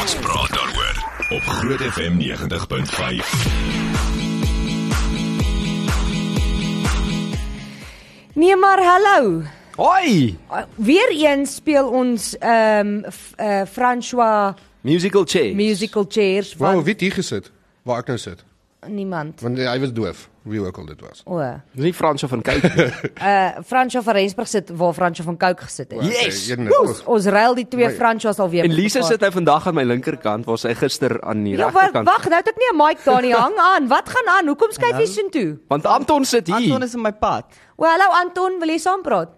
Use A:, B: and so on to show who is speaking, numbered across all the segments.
A: Ons praat daaroor op Groot FM 90.5.
B: Nee, maar hallo.
C: Hoi!
B: Weereens speel ons ehm f- eh François
C: Musical chairs.
B: musical chairs
D: Wou
B: van
D: weet hier gesit waar ek nou sit.
B: niemand.
D: Want hy was doof, wie ook al dit was.
B: O.
C: Dis nie Fransjo van kyk nie.
B: Eh François van Rensburg sit waar François van Cooke gesit het.
C: Yes!
D: Een
B: Ons, ons ruil die twee
D: Maar-
B: François alweer.
C: Ja. en
B: met
C: Lisa
B: mekaar.
C: sit nou vandag aan my linkerkant waar sy gister aan die
B: Ja, wat
C: regterkant.
B: wag, nou het ek nie 'n mic daar nie. Hang aan. Wat gaan aan? Hoekom skuif jy soontoe?
C: Want Anton sit hier.
E: Anton is in my pad.
B: O, hallo Anton, wil jy saam praat?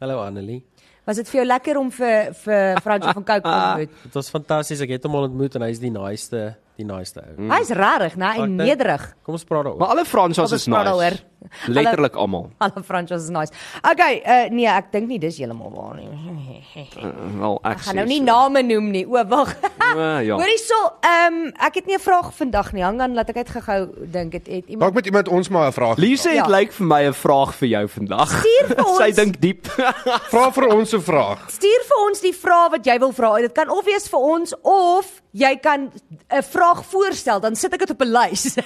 E: Hallo Annelie.
B: Was dit vir jou lekker om vir vir François van Cooke te ontmoet?
E: Dit was fantasties. Ek het hom al ontmoet en hy's die naaiste, die naaiste
C: Hmm.
E: ou.
B: Hy's rarig, né, en
E: Ek dink-
B: nederig.
E: Kom ons praat daaroor.
C: maar alle Fransjo's
B: Alles
C: is
B: praat
C: nice.
B: daaroor.
C: Letterlik almal.
B: Hallo François is nice. Okay, uh, nee, ek dink nie dis heeltemal waar nie.
C: Uh, Wel, ek
B: Ek gaan nou nie name noem nie. O, wag.
C: Uh, ja.
B: Hoorie sou, ehm ek het nie 'n vraag vandag nie. Hang aan, laat ek uit gehou dink het, het iemand
D: Dalk met iemand ons maar 'n vraag.
C: Lisa het
B: Ja.
C: ja. lyk vir my 'n vraag vir jou vandag.
B: Stuur vir ons.
C: sy dink diep.
D: Vra vir ons 'n vraag.
B: Stuur vir ons die vrae wat jy wil vra. Dit kan of wees vir ons of jy kan 'n vraag voorstel, dan sit ek dit op 'n lys.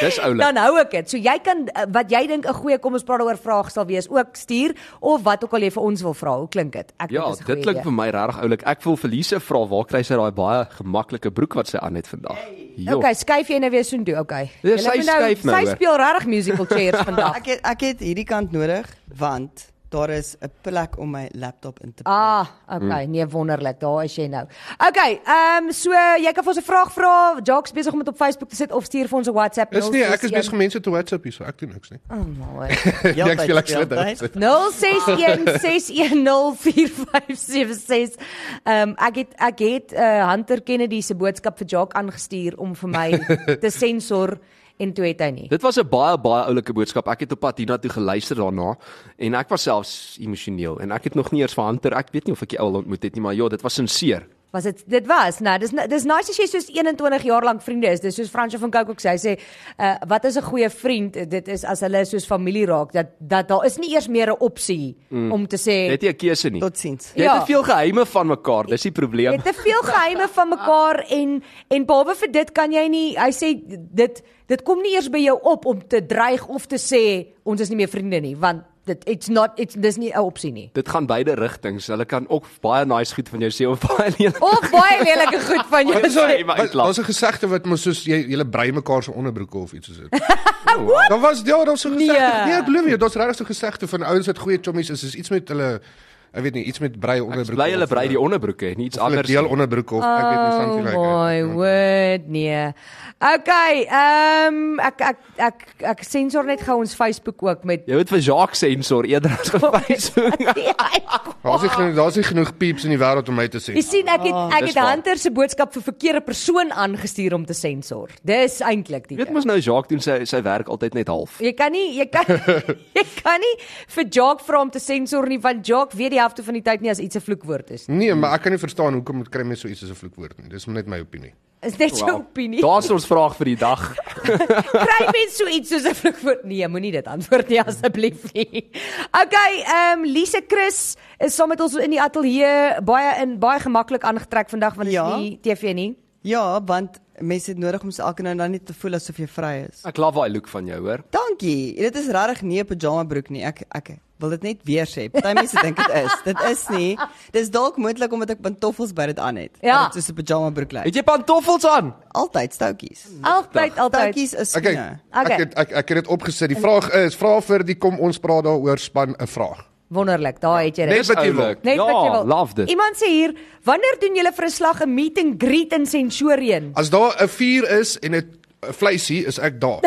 C: Dis oulik.
B: dan hou ek dit. So jy kan eh, wat jy dink 'n goeie kom ons praat daaroor vraag sal wees, ook stuur of wat ook al jy vir ons wil vra. Hoe klink dit? Ek
C: Ja,
B: dink dis 'n
C: dit
B: goeie
C: klink
B: idee.
C: vir my regtig oulik. Ek wil vir Lisa vra waar kry sy daai baie gemaklike broek wat sy aan het vandag? Jo.
B: Okay, skuif jy nou weer soontoe. Okay.
C: Ja,
B: Julle
C: sy
B: moet
C: skuif nou
B: Sy
C: weer.
B: speel regtig musical chairs vandag.
F: Ek het, ek het hierdie kant nodig want daar is 'n plek om my laptop in te
B: Ah,
D: Hmm.
B: okay, nee wonderlik. Daar is jy nou. Okay, ehm um, so jy kan vir ons 'n vraag vra. Jacques besig om dit op Facebook te sit of stuur vir ons 'n WhatsApp.
D: Is nie ek is besig om mense te WhatsApp hierso. Ek doen niks nie.
C: Ah,
B: Oh my.
F: Ja,
D: ek speel ek slid.
F: heeltyd.
B: 0616104576. Ehm um, ek het ek het uh, Hunter Kennedy se boodskap vir Jacques aangestuur om vir my te sensor en toe het hy nie.
C: Dit was 'n baie baie oulike boodskap. Ek het op pad hiernatoe geluister daarna en ek was selfs emosioneel en ek het nog nie eers vir Hunter, ek weet nie of ek die ou al ontmoet het nie, maar ja, dit was sinseer.
B: Was dit dit was. Nou, dis ni- dis nice as jy soos 21 jaar lank vriende is. Dis soos Fransjo van Cooke ook sê. Hy sê, uh, "Wat is 'n goeie vriend? Dit is as hulle soos familie raak dat dat daar is nie eers meer 'n opsie mm. om te
C: Jy
B: sê
C: het nie 'n keuse nie.
F: Totsiens.
C: Jy
B: Ja.
C: het te veel geheime van mekaar, dis die
B: jy
C: probleem.
B: het te veel geheime van mekaar en en behalwe vir dit kan jy nie hy sê dit dit kom nie eers by jou op om te dreig of te sê ons is nie meer vriende nie want dit it's not it's dis nie 'n opsie nie.
C: Dit gaan beide rigtings. Hulle kan ook baie nice goed van jou sê of baie nie.
B: Of baie lelike goed van jou.
C: Dis
B: sê.
C: hy maar
D: Wat-
C: uitlag.
D: Daar's 'n gesegde wat mos soos jy julle brei mekaar se onderbroeke of iets soos dit. Daar was ja, daar's so gesegde.
B: Nee.
D: Nee, nee ek glo jy, daar's regtig so gesegde van ouens wat goeie chommies is, is iets met hulle ek weet nie, iets met brei
C: Ek is
D: onderbroeke.
C: Bly hulle
D: of
C: brei die
D: hulle-
C: onderbroeke, nie iets
D: of hulle
C: anders.
D: deel onderbroeke of ek weet nie something like
B: Oh
D: that.
B: my word, nee. Okay, ehm um, ek ek ek ek sensor net gou ons Facebook ook met Nee,
C: Jy moet vir Jacques sensor eerder as
B: Oh,
C: gefacebook.
D: Daar's
C: Oh.
D: nie genoeg- daar's nie genoeg peeps in die wêreld om my te
B: Jy
D: sê.
B: sien ek het ek
C: Ah, Dis
B: het
C: waar.
B: Hunter se boodskap vir verkeerde persoon aangestuur om te sensor. Dis eintlik die.
C: Jy weet
B: ding.
C: mos nou Jacques doen sy sy werk altyd net half.
B: Jy kan nie jy kan jy kan nie vir Jock vra om te sensor nie want Jock weet die helfte van die tyd nie as iets 'n vloekwoord is nie.
D: Nee, maar ek kan nie verstaan hoekom moet kry mense so iets as 'n vloekwoord nie. Dis net my opinie.
B: Is net jou
C: Oh, Wel,
B: opinie.
C: Daar's ons vraag vir die dag.
B: Kry mens so iets soos 'n vloekwoord? Nee, moenie dit antwoord nie asseblief nie. Okay, ehm um, Lise Chris is saam met ons in die ateljee baie in baie gemaklik aangetrek vandag want dit
F: Ja.
B: is nie TV nie.
F: Ja, want mense het nodig om se elke nou en dan net te voel asof jy vry is.
C: Ek love daai look van jou, hoor.
F: Dankie. Dit is regtig nie 'n pyjama broek nie. Ek ek wil dit net weer sê. Party mense dink dit is. Dit is nie. Dis dalk moontlik omdat ek pantoffels by dit aan het.
B: Ja.
F: Dat Dit is 'n pyjama broek lyk.
C: Het jy pantoffels aan?
F: Altyd stoutjies.
B: Altyd altyd.
F: Stoutjies is
D: Okay.
F: skoene.
B: Okay.
D: Ek het ek, ek het dit opgesit. Die vraag is, vra vir die kom ons praat daaroor span 'n vraag.
B: Wonderlik, daai het jy dit.
D: Net wat jy wil.
B: Net
C: ja,
B: wat jy wil.
C: love dit.
B: Iemand sê hier, wanneer doen julle vir 'n slag 'n meet and greet in Centurion?
D: As daar 'n vuur is en 'n 'n vleisie is ek daar.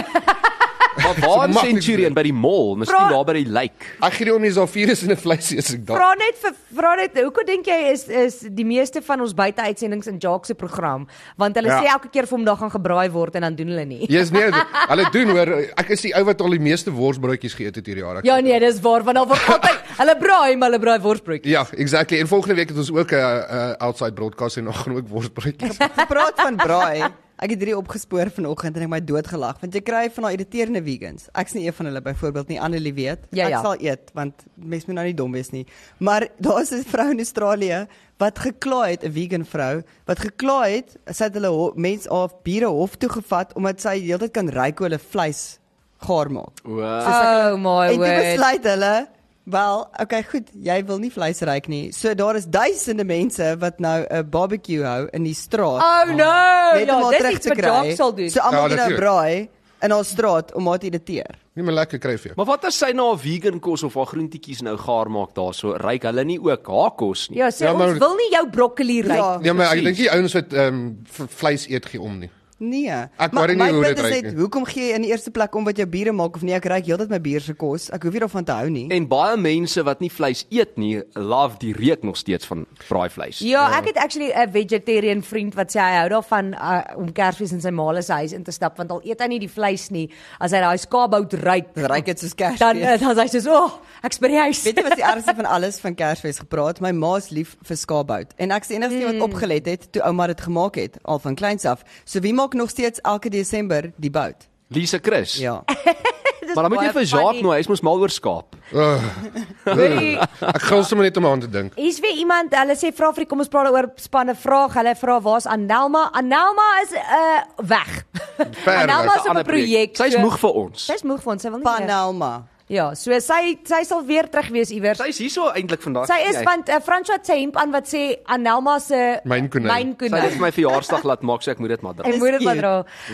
C: Maar waar in
D: Mag nie
C: Centurion
D: wees.
C: by die mall,
B: Vra-
C: miskien daar by die lake.
D: Ek gee nie om nie as daar vuur is en 'n vleisie is ek daar.
B: Vra net vir vra net hoekom dink jy is is die meeste van ons buiteuitsendings in Jacques se program want hulle
D: Ja.
B: sê elke keer vir hom daar gaan gebraai word en dan doen hulle nie.
D: Jy's nee, hulle doen hoor. Ek is die ou wat al die meeste worsbroodjies geëet het hierdie jaar. Ek
B: Ja nee, dis waar want al word altyd hulle braai maar hulle braai worsbroodjies.
D: Ja, exactly. En volgende week het ons ook 'n uh, uh, outside broadcast en dan gaan ook worsbroodjies.
F: Gepraat van braai. Ek het hierdie opgespoor vanoggend en ek het my doodgelag want jy kry van daai irriterende vegans. Ek's nie een van hulle byvoorbeeld nie, Annelie weet.
B: Ja,
F: ek
B: ja.
F: sal eet want mense moet nou nie dom wees nie. Maar daar's 'n vrou in Australië wat gekla het, 'n vegan vrou wat gekla het, sy het hulle ho- mens haar bure hof toe gevat omdat sy heeltyd kan ruik hoe hulle vleis gaar maak.
C: Wow.
B: Oh my
F: Ah, En toe
B: word.
F: besluit hulle, wel, okay, goed, jy wil nie vleis ryk nie. So daar is duisende mense wat nou 'n barbecue hou in die straat.
B: Oh no.
F: net om
B: Ja,
F: haar
B: dis
F: terug
B: iets
F: te
B: wat Jacques
F: kry.
B: sal doen.
F: So almal
D: Ja,
F: ja, nou
D: natuurlijk.
F: braai in haar straat om haar te irriteer.
D: Nie meer Nee, lekker kry vir jou.
C: Maar wat as sy na 'n vegan kos of haar groentetjies nou gaar maak daarso, ryk hulle nie ook haar kos nie.
B: Ja, sê
D: Ja, maar-
B: ons wil nie jou broccoli ry.
F: Ja.
D: Nee, maar ek
C: Precies.
D: dink die ouens wat ehm v- vleis eet gee om nie.
F: Nee.
D: Ek worry nie
F: my
D: hoe
F: punt
D: dit
F: is
D: ruik
F: net,
D: nie.
F: Hoekom gee jy in die eerste plek om wat jou bure maak of nie? Ek ryk heeltyd my buur se kos. Ek hoef nie daarvan te hou nie.
C: En baie mense wat nie vleis eet nie, love die reuk nog steeds van braai vleis.
B: Ja, ek het actually 'n vegetarian vriend wat sê hy hou daarvan uh, om Kersfees in sy ma se huis in te stap want al eet hy nie die vleis nie, as hy daai skaapbout ryk,
F: Dan ryk dit soos Kersfees.
B: dan uh, dan sê hy soos, "O, oh, ek's by die huis."
F: Weet jy wat die ergste van alles van Kersfees gepraat? My ma's lief vir skaapbout en ek's die enigste een
B: Hmm.
F: wat opgelet het toe ouma dit gemaak het al van kleins af. So wie maak nog steeds elke Desember die bout?
C: Lisa Chris.
F: Ja.
B: Dis
C: Maar dan moet jy
B: baie
C: vir Jacques
B: funny.
C: nooi, hy's mos mal oor skaap.
B: Hoorie,
D: Ek gil sommer net om aan te dink.
B: Hier's weer iemand, hulle sê vra vir die- kom ons praat oor spanne vraag. Hulle vra waar's Anelma? Anelma is uh weg.
D: weg,
B: Anelma is op 'n
C: Ander
B: projek.
C: Sy's
B: so-
C: moeg vir ons.
B: Sy's moeg vir ons, sy wil nie. meer-
F: Panelma.
B: Ja, so sy sy sal weer terug wees iewers.
C: Sy's hierso eintlik vandag.
B: Sy is
C: Jy-
B: want uh, Franswa het sy hemp aan wat sê Anelma se
D: Mynkonyn.
C: Sy het dit
B: mynkonyn.
C: vir my verjaarsdag laat maak, so ek moet dit maar dra.
B: En
F: Dis
B: moet dit maar
F: cute.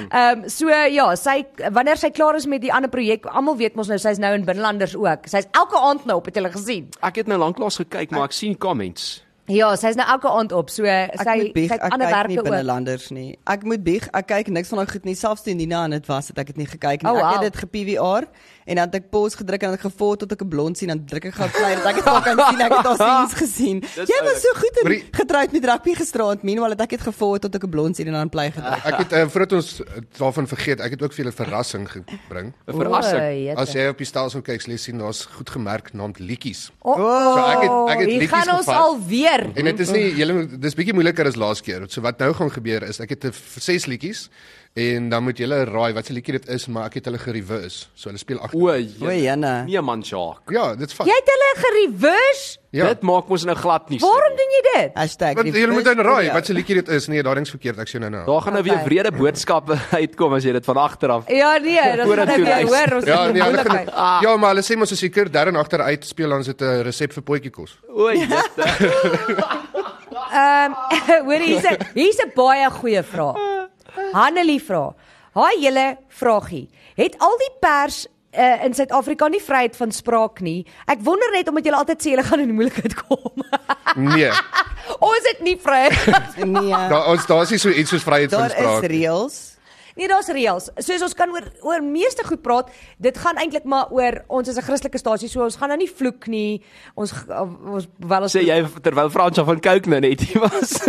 B: dra. Ehm so ja, sy wanneer sy klaar is met die ander projek, almal weet mos nou sy's nou in binnelanders ook. Sy's elke aand nou op, het julle gesien.
C: Ek het nou lanklaas gekyk, maar ek sien comments.
B: Ja, sy's nou elke aand op. So
F: Ek
B: sy
F: moet bieg,
B: sy het
F: ek
B: ander
F: kyk
B: werke
F: nie
B: ook.
F: binnelanders nie. Ek moet bieg, ek kyk niks van daai goed nie. Selfs toe Nina aan dit was, het ek dit nie gekyk nie.
B: Oh,
F: Ek
B: wow.
F: het dit ge-PVR en dan het ek pause gedruk en dan het ek gevolg tot ek 'n blond sien en dan druk ek gou play dat ek dit al kan sien. Ek het al scenes gesien. Jy was so goed
D: Maar
F: in
D: die-
F: getroud met rugby gisteraand. Meanwhile het ek dit gevolg tot ek 'n blond sien en dan play gedruk.
D: Ek het uh, voordat ons eh, daarvan vergeet, ek het ook vir julle 'n verrassing gebring.
C: 'n Verrassing.
B: O, jette.
D: As jy op die stelsel kyk, sal jy sien daar's goed gemerk naamd liedjies.
B: O,
D: So ek het- ek het
B: hier
D: liedjies
B: gaan ons
D: gevat.
B: alweer.
D: En dit is nie julle moet- dis bietjie moeiliker as laas keer. So wat nou gaan gebeur is ek het 'n f- ses liedjies en dan moet julle raai wat se liedjie dit is, maar ek het hulle gereverse. So hulle speel agter.
C: O,
F: O,
C: jene.
F: Jana.
C: Nee man, Jacques.
D: Ja, dit's vas.
B: Jy het hulle gereverse.
D: Ja.
C: Dit maak mos nou glad nie. sin
B: Waarom
C: nie.
B: doen jy dit?
F: Hashtag
D: Want
F: die
D: julle moet
F: first
D: nou raai
F: video.
D: wat se liedjie dit is. Nee, daai ding's verkeerd. Ek sien nou nou.
C: Daar gaan nou weer
B: Okay.
C: wrede boodskappe uitkom as jy dit van agter af.
B: Ja nee, dit
C: Voordat
B: gaan ek
C: toe
B: weer
C: reis.
B: hoor ons
D: Ja, nee, hulle
B: moeilikheid.
D: gaan Ja, maar hulle sê mos as jy keur daar en agter uit speel dan sit 'n resep vir potjie kos.
C: O, jette.
B: Ehm hoor hier's 'n hier's 'n baie goeie vraag. Hanelie vra. Haai julle vragie. Het al die pers uh, in Suid-Afrika nie vryheid van spraak nie? Ek wonder net omdat julle altyd sê julle gaan in die moeilikheid kom.
D: Nee.
B: ons het nie vryheid.
F: Nee.
D: Daar ons daar's nie so iets soos vryheid van
F: Daar is
D: spraak. nie.
F: reels.
B: nee, daar's reëls. Soos ons kan oor oor meeste goed praat, dit gaan eintlik maar oor ons is 'n Christelike stasie, so ons gaan nou nie vloek nie. Ons g- ons wel ons
C: Sê jy terwyl Fransja van Cooke nou net hier was.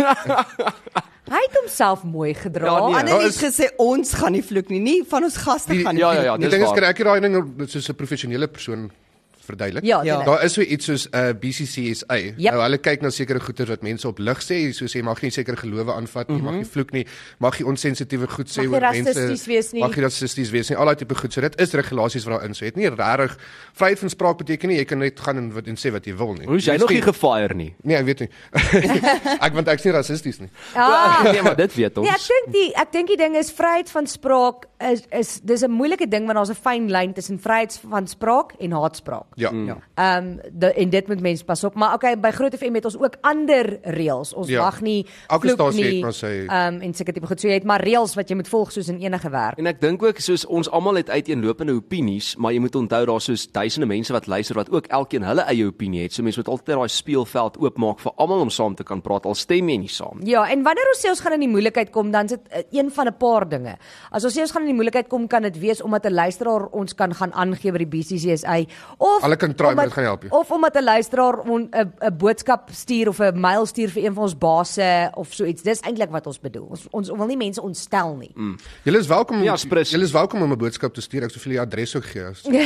B: Hy het homself mooi gedra.
C: Ja, nee.
F: Ander
D: daar
F: het gesê ons gaan nie vloek nie, nie van ons gaste
D: Die-
F: gaan nie.
C: Ja, ja, ja,
D: Die
C: dis
D: ding is
C: waar.
D: kan ek hier daai ding soos 'n professionele persoon verduidelik.
B: Ja,
F: Ja.
B: ja.
D: Daar is so iets soos 'n uh, BCCSA.
B: Yep.
D: Nou hulle kyk na sekere goeder wat mense op lig sê, soos jy mag nie sekere gelowe aanvat nie, mm
C: Mhm.
D: -hmm. mag nie vloek nie, mag nie onsensitiewe goed
B: Mag
D: sê
B: jy
D: oor mense.
B: rassisties wees nie.
D: Mag jy rassisties wees nie. Al daai tipe goed. So dit is regulasies wat daarin. So jy het nie regtig vryheid van spraak beteken nie jy kan net gaan en wat en sê wat jy wil nie.
C: Hoe's jy
D: Jy
C: nog
D: is
C: nie gefire nie?
D: Nee, ek weet nie. ek want ek's nie rassisties nie.
B: Ah,
C: Nee, maar dit weet
B: Ja, ek
C: ons.
B: dink die ek dink die ding is vryheid van spraak is is dis 'n moeilike ding want daar's 'n fyn lyn tussen vryheid van spraak en haatspraak.
D: Ja. Mm.
B: Ehm um, en dit moet mense pas op, maar okay, by Groot FM het ons ook ander reëls. Ons
D: Ja.
B: mag nie
D: Elke
B: vloek
D: stasie het
B: nie.
D: maar sy-
B: Ehm um, en seker tipe goed. So jy het maar reëls wat jy moet volg soos in enige werk.
C: En ek dink ook soos ons almal het uiteenlopende opinies, maar jy moet onthou daar soos duisende mense wat luister wat ook elkeen hulle eie opinie het. So mense moet altyd daai speelveld oopmaak vir almal om saam te kan praat al stem jy nie saam.
B: Ja, en wanneer ons sê ons gaan in die moeilikheid kom, dan is dit eh, een van 'n paar dinge. As ons sê ons gaan in die moeilikheid kom, kan dit wees omdat 'n luisteraar ons kan gaan aangee by die BCCSA of
D: Hulle kan try, maar
B: omdat-
D: dit gaan nie help nie.
B: Of omdat 'n luisteraar on- 'n 'n boodskap stuur of 'n mail stuur vir een van ons base of so iets. Dis eintlik wat ons bedoel. Ons ons wil nie mense ontstel nie.
D: Julle is welkom om
C: Ja, spris.
D: julle is welkom om 'n boodskap te stuur. Ek sou vir julle die adres ook gee. So,
B: Ja,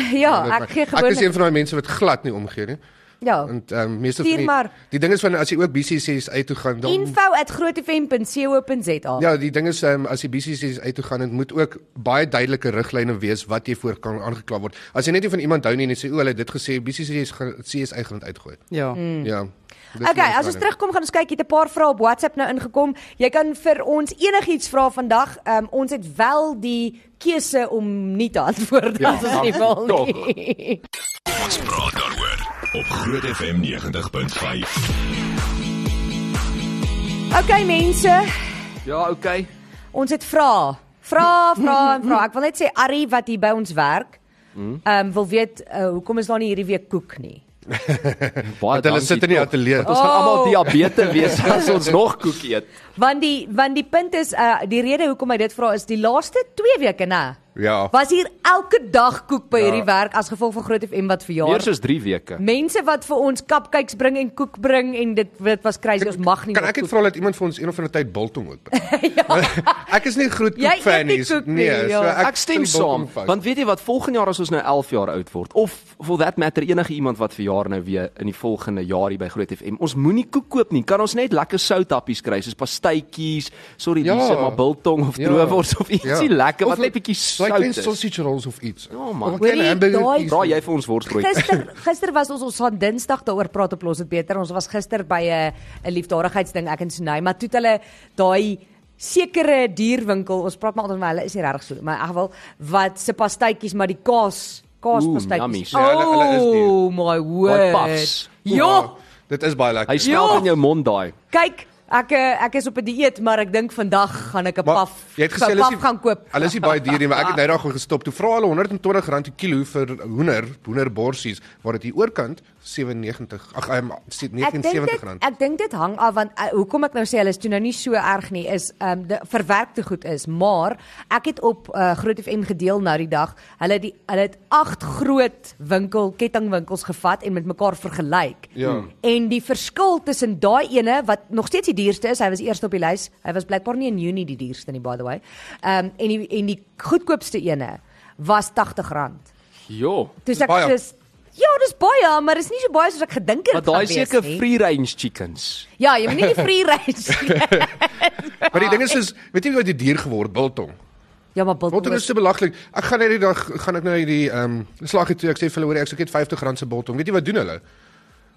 B: ek gee
D: Ek is
B: gewoonlik-
D: een van daai mense wat glad nie omgee nie.
B: Ja.
D: Want ehm um, meeste
B: Stuur
D: van die,
B: maar.
D: die ding is van as jy ook BCC's uit toe gaan dan
B: info@grootefm.co.za.
D: Ja, die ding is um, as die BCC's uit toe gaan, dit moet ook baie duidelike riglyne wees wat jy voor kan aangekla word. As jy net nie van iemand hou nie en jy sê o, hulle het dit gesê, BCC's gaan CSI gaan dit uitgooi.
F: Ja. Mm.
D: Ja. dit is
B: Hmm. Okay, as
D: my
B: ons
D: ervaring.
B: terugkom gaan ons kyk, jy het 'n paar vrae op WhatsApp nou ingekom. Jy kan vir ons enigiets vra vandag. Um, ons het wel die keuse om nie te antwoord
C: Ja,
B: as ons nie wil nie.
A: Ons praat daaroor op Groot FM 90.5.
B: Okay mense,
C: Ja, okay.
B: ons het vrae. Vra, vra en vra. Ek wil net sê Arrie wat hier by ons werk, ehm um, wil weet uh, hoekom is daar nie hierdie week koek nie.
C: Baie
D: Want hulle
C: dankie Oh.
D: sit in die
C: tog.
D: ateljee. Oh.
C: Want Ons gaan almal diabetes wees as ons nog koek eet.
B: Want die want die punt is uh, die rede hoekom hy dit vra is die laaste 2 weke, né?
D: Ja.
B: Was hier elke dag koek by hierdie werk as gevolg van Groot FM wat verjaar.
C: Meer soos 3 weke.
B: Mense wat vir ons kapkyks bring en koek bring en dit dit was crazy, ons mag nie
D: Kan
B: nog
D: ek net
B: koek-
D: vra dat iemand vir ons een of ander tyd biltong ook bring? ek is nie groot
B: Ja. Jy eet
D: koek fan
B: nie
D: nie.
B: koek nie,
D: Nee,
B: ja.
D: so ek,
C: Ek, ek stem saam, want weet jy wat, volgende jaar as ons nou 11 jaar oud word of for that matter enige iemand wat verjaar nou weer in die volgende jaar hier by Groot FM, ons moenie koek koop nie. Kan ons net lekker soutappies kry, soos pastytjies, sorry,
D: Ja.
C: ja. dis maar biltong of ja. droewors of ietsie ja. lekker wat net bietjie
D: Like
C: sout
D: klein
C: is.
D: sausage rolls of iets.
C: Ja, man.
D: Of 'n
B: Hoor
D: klein
B: jy,
D: hamburger
B: daai-
D: piece.
C: Dra jy vir ons worsbrood?
B: Gister gister was ons ons gaan Dinsdag daaroor praat op Los dit beter. Ons was gister by 'n 'n liefdadigheidsding ek en Sunay, maar toe het hulle daai sekere dierwinkel, ons praat maar altyd maar hulle is nie regtig so, maar ag wel wat se pastytjies, maar die kaas kaaspastytjies.
C: yummies.
D: Ja, hulle- hulle is duur.
B: Oh my
C: Wat
B: word.
C: puffs.
B: Ja,
D: Dit is baie lekker.
C: Hy
B: Ja.
C: slaap in jou mond daai.
B: kyk, ek eh, ek is op 'n dieet, maar ek dink vandag gaan ek 'n
D: Maar
B: paf.
D: jy het gesê hulle is
B: paf gaan koop.
D: Hulle is nie baie duur nie, maar ek het nou daaroor gestop. Toe vra hulle R120 'n kilo vir hoender, hoenderborsies, waar dit hier oorkant 97 ag ehm, sit
B: Ek dink dit
D: R79.
B: ek dink dit hang af want uh, hoekom ek nou sê hulle is toe nou nie so erg nie is ehm um, verwerkte goed is, maar ek het op uh, Groot FM gedeel nou die dag. Hulle het die hulle het agt groot winkel kettingwinkels gevat en met mekaar vergelyk.
D: Ja.
C: Hmm.
B: En die verskil tussen daai ene wat nog steeds die duurste is, hy was eers op die lys. Hy was blykbaar nie in Junie die duurste nie by the way. Ehm um, en die en die goedkoopste ene was R80.
C: Jo.
B: Dis
D: Dis
B: ek
D: baie.
B: dis Ja, dis baie, maar dis nie so baie soos ek gedink het.
C: Maar daai
B: gaan wees
C: seker
B: nie.
C: free range chickens.
B: Ja, jy moet nie die free range.
D: Maar die ding is is weet jy wat dit duur geword biltong.
B: ja, maar biltong
D: Biltong is
B: is
D: so belaglik. Ek gaan hierdie dag gaan ek nou hierdie ehm slaggie toe ek sê vir hulle hoor ek soek net R50 se biltong. Weet jy wat doen hulle?